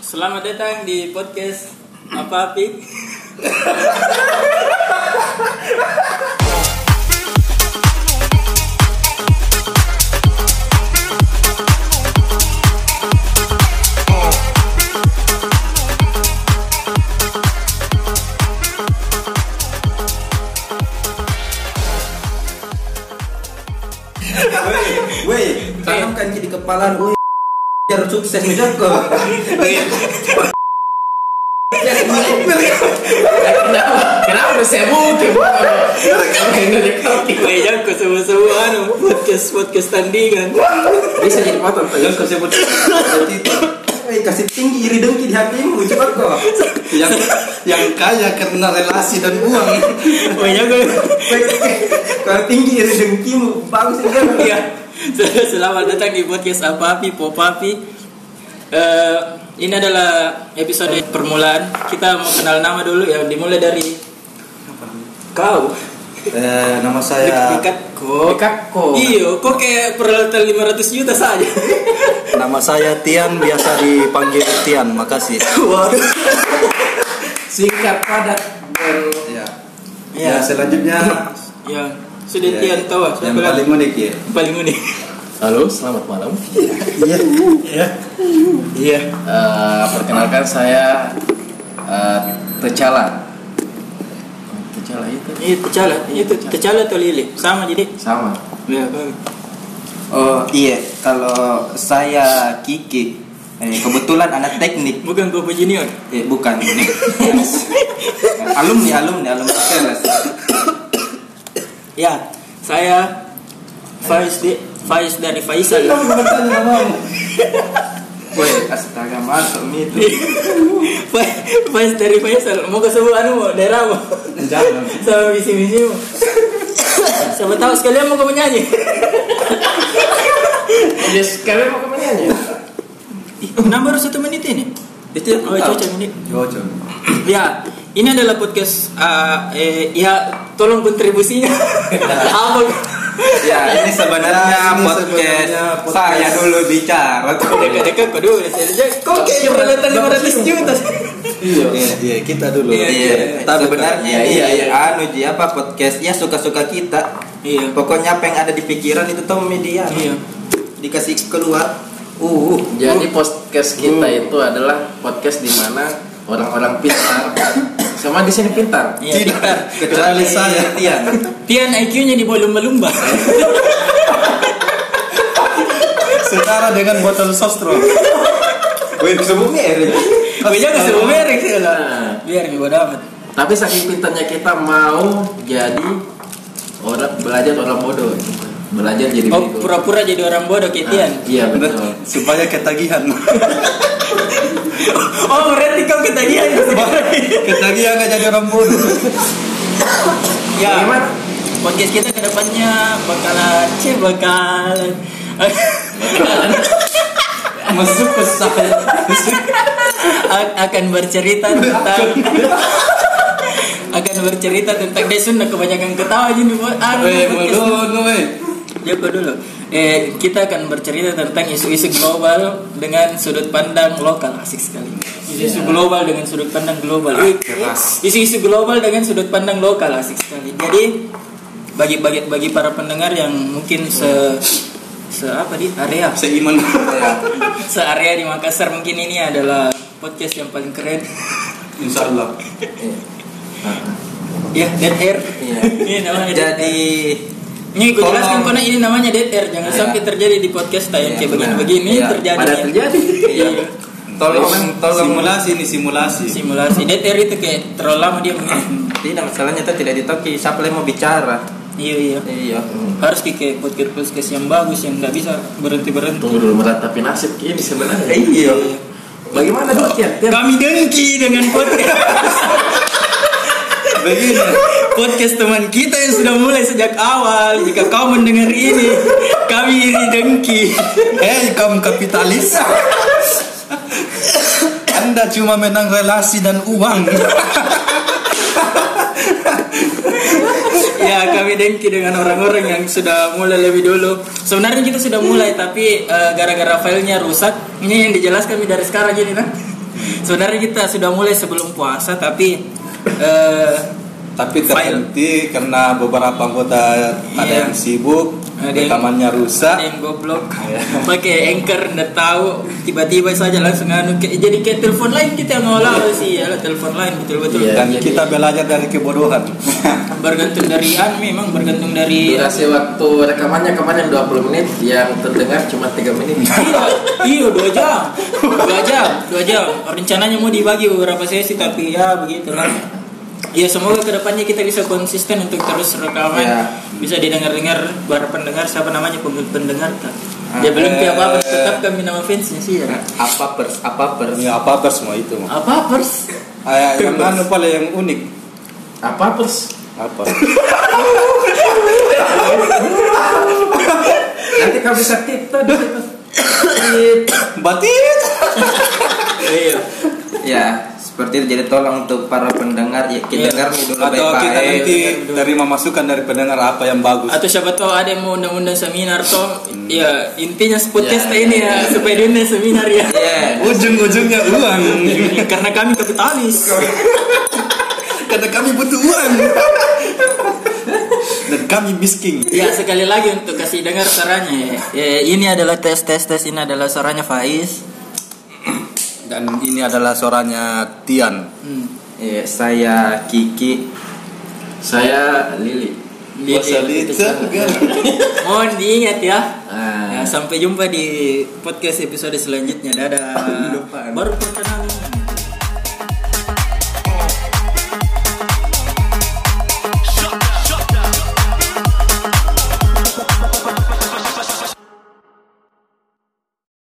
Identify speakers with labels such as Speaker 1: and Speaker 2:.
Speaker 1: Selamat datang di podcast apa Pi?
Speaker 2: Woi, tanamkan di kepala lu biar sukses menjoko.
Speaker 3: Kenapa udah saya mungkin?
Speaker 1: Kayak ke semua-semua anu podcast podcast tandingan.
Speaker 2: Bisa jadi motor tuh, yang kesebut Jadi, Woi, kasih tinggi iri dengki di hatimu, coba kok. Yang yang kaya karena relasi dan uang.
Speaker 1: Banyak gue.
Speaker 2: Woi, Kalau tinggi iri dengkimu, bagus ini kan?
Speaker 1: Ya. Selamat datang di podcast apa Pi Popapi. Eh ini adalah episode permulaan. Kita mau kenal nama dulu ya. Dimulai dari kau.
Speaker 2: Eh, nama
Speaker 4: Iya.
Speaker 2: saya
Speaker 1: Dekat kok.
Speaker 3: Kakko.
Speaker 1: Iyo, kok kayak peralatan 500 juta saja.
Speaker 2: nama saya Tian biasa dipanggil Tian, makasih.
Speaker 1: Waduh.
Speaker 3: Singkat padat dan
Speaker 2: Ya.
Speaker 1: Ya.
Speaker 4: Iya.
Speaker 2: Ya, selanjutnya Iya.
Speaker 1: Ya, sudah Tian tahu ah,
Speaker 2: yang
Speaker 1: siapa lagi?
Speaker 2: paling unik ya.
Speaker 1: paling unik.
Speaker 3: Halo, selamat malam.
Speaker 2: Iya.
Speaker 1: Iya.
Speaker 3: Eh, perkenalkan saya eh, Tecala. Tecala itu
Speaker 1: Itu cala, itu tecala atau lele sama jadi.
Speaker 3: sama.
Speaker 1: Ya, bagus.
Speaker 4: Oh iya, kalau saya Kiki, eh, kebetulan anak teknik,
Speaker 1: bukan Bobo Junior.
Speaker 4: eh, bukan alumni alumni alumni kelas.
Speaker 1: Ya, saya Faiz di Faiz dari Faisal.
Speaker 4: Woi, astaga masuk nih itu.
Speaker 1: Fa- Faiz dari Faisal. Mau ke sebuah anu mau daerah mau
Speaker 4: Jangan.
Speaker 1: sama misi misi mau. Siapa tahu sekalian mau kamu nyanyi.
Speaker 3: Jadi kalian mau kemana ya?
Speaker 1: Ih, Kenapa baru satu menit ini? Itu oh, cocok ini.
Speaker 2: Cocok.
Speaker 1: Ya, ini adalah podcast ah, eh, ya tolong kontribusinya. Apa
Speaker 4: Ya ini sebenarnya
Speaker 2: Ini
Speaker 4: podcast,
Speaker 2: sebenarnya podcast.
Speaker 4: saya dulu bicara.
Speaker 1: Dekat-dekat kau dulu saja. Kau kayak peralatan 500 juta.
Speaker 3: Iya.
Speaker 2: Iya, iya, kita dulu.
Speaker 1: Iya,
Speaker 4: Iya,
Speaker 2: Tapi
Speaker 4: sebenarnya
Speaker 3: Iya,
Speaker 4: iya,
Speaker 3: iya.
Speaker 4: anu ji apa podcast ya suka-suka kita.
Speaker 1: Iya.
Speaker 4: Pokoknya apa yang ada di pikiran itu tuh media.
Speaker 1: Iya.
Speaker 4: Dikasih keluar. Uh, uh.
Speaker 3: Jadi podcast kita itu adalah podcast di mana orang-orang pintar. Semua di sini pintar.
Speaker 1: Iya,
Speaker 4: gitu.
Speaker 1: pintar.
Speaker 2: kecuali saya.
Speaker 4: Tian.
Speaker 1: Tian IQ-nya di bawah lumba-lumba.
Speaker 2: Setara dengan botol sostro.
Speaker 4: Woi, sebelumnya Erik.
Speaker 3: Iya,
Speaker 1: Beda ke sebuah merek sih lah.
Speaker 3: Nah,
Speaker 1: Biar gue bodo amat.
Speaker 3: Tapi saking pintarnya kita mau jadi orang belajar orang bodoh, belajar jadi
Speaker 1: Oh,
Speaker 3: bego.
Speaker 1: pura-pura jadi orang bodoh kayak Tian.
Speaker 3: Ah, iya betul.
Speaker 2: Supaya ketagihan.
Speaker 1: Oh, berarti kau ketagihan.
Speaker 2: ketagihan nggak jadi orang bodoh.
Speaker 1: Ya,
Speaker 3: Bagaimana?
Speaker 1: podcast kita ke depannya bakalan ce bakalan.
Speaker 4: Masuk ke saya.
Speaker 1: A- akan bercerita tentang akan bercerita tentang Desun kebanyakan ketawa jadi buat ah, podcast. Joko dulu. Eh, kita akan bercerita tentang isu-isu global dengan sudut pandang lokal. Asik sekali. Isu-isu
Speaker 4: Iya.
Speaker 1: global dengan sudut pandang global.
Speaker 4: Ah,
Speaker 1: Wih, Isu-isu global dengan sudut pandang lokal. Asik sekali. Jadi bagi bagi bagi para pendengar yang mungkin se se apa di area
Speaker 2: Seiman.
Speaker 1: se area di Makassar mungkin ini adalah podcast yang paling keren.
Speaker 2: Insya Allah.
Speaker 1: Ya, Dead Air.
Speaker 4: Iya.
Speaker 1: Ini namanya Dead Air.
Speaker 4: Jadi
Speaker 1: Ini gue jelaskan
Speaker 4: Tolong.
Speaker 1: karena ini namanya Dead Air. Jangan
Speaker 4: Iya.
Speaker 1: sampai terjadi di podcast tayang
Speaker 4: Iya,
Speaker 1: kayak
Speaker 4: benar.
Speaker 1: begini-begini
Speaker 4: Iya,
Speaker 1: terjadi.
Speaker 3: Pada terjadi.
Speaker 4: iya. tolong tolong
Speaker 2: Simulasi ini simulasi.
Speaker 1: simulasi Dead Air itu kayak terlalu lama dia begini
Speaker 4: tidak masalahnya itu tidak ditoki siapa yang mau bicara
Speaker 1: iya iya
Speaker 4: iya
Speaker 1: harus kayak podcast podcast yang bagus yang nggak bisa berhenti berhenti
Speaker 3: Tunggu dulu meratapi nasib ini sebenarnya.
Speaker 4: iya
Speaker 3: Eh, Bagaimana dong Tian? Tian?
Speaker 1: kami dengki dengan podcast
Speaker 2: Begini.
Speaker 1: podcast teman kita yang sudah mulai sejak awal jika kau mendengar ini kami iri dengki
Speaker 2: Hei kaum kapitalis. Anda cuma menang relasi dan uang.
Speaker 1: ya kami dengki dengan orang-orang yang sudah mulai lebih dulu sebenarnya kita sudah mulai tapi eh, gara-gara filenya rusak ini yang dijelaskan dari sekarang ini nah Sebenarnya kita sudah mulai sebelum puasa tapi eh,
Speaker 2: Tapi
Speaker 1: File.
Speaker 2: terhenti karena beberapa anggota ada
Speaker 1: Iya.
Speaker 2: yang sibuk,
Speaker 1: Ada yang-
Speaker 2: rekamannya
Speaker 1: ada
Speaker 2: rusak.
Speaker 1: yang goblok pakai anchor nggak tahu tiba-tiba saja langsung anu kayak- jadi kayak telepon lain kita ngolah sih ya telepon lain betul-betul
Speaker 3: Iya.
Speaker 2: Dan
Speaker 3: jadi-
Speaker 2: kita belajar dari kebodohan.
Speaker 1: bergantung dari an memang bergantung dari
Speaker 3: Durasi waktu rekamannya kemarin 20 menit, yang terdengar cuma 3 menit.
Speaker 1: iya dua jam dua jam dua jam rencananya mau dibagi beberapa sesi tapi ya begitu lah ya semoga kedepannya kita bisa konsisten untuk terus rekaman
Speaker 4: Ya.
Speaker 1: bisa didengar dengar para pendengar siapa namanya pem- pendengar kan ya belum tiap apa tetap kami nama fansnya sih ya
Speaker 3: apa pers, apa pers,
Speaker 2: Ya apa apa semua itu. mah.
Speaker 1: apa pers
Speaker 2: Ah, yang anu paling yang unik
Speaker 3: apa pers?
Speaker 2: apa?
Speaker 3: Nanti kamu bisa tito di situ.
Speaker 2: Batit.
Speaker 1: iya
Speaker 4: ya seperti itu jadi tolong untuk para pendengar ya
Speaker 1: Iya.
Speaker 4: kita dengar nih dulu
Speaker 2: Atau kita
Speaker 4: baik-baik
Speaker 2: nanti terima masukan dari pendengar apa yang bagus.
Speaker 1: atau siapa tahu ada yang mau undang-undang seminar toh ya intinya podcast
Speaker 3: Ya,
Speaker 1: ini ya supaya diundang seminar ya
Speaker 4: Iya.
Speaker 2: Ujung-ujungnya uang.
Speaker 1: karena kami kapitalis
Speaker 2: Karena kami butuh uang. Dan kami miskin.
Speaker 1: Ya sekali lagi untuk kasih dengar suaranya. Ya, ini adalah tes tes tes ini adalah suaranya Faiz.
Speaker 2: Dan ini adalah suaranya Tian.
Speaker 1: Hmm.
Speaker 4: Iya, saya Kiki
Speaker 3: Saya Lili.
Speaker 1: Lili,
Speaker 3: Iya,
Speaker 1: itu salah. Mohon diingat ya.
Speaker 3: Ah.
Speaker 1: Ya, sampai jumpa di podcast episode selanjutnya. Dadah.
Speaker 4: Lupa.
Speaker 1: Baru podcast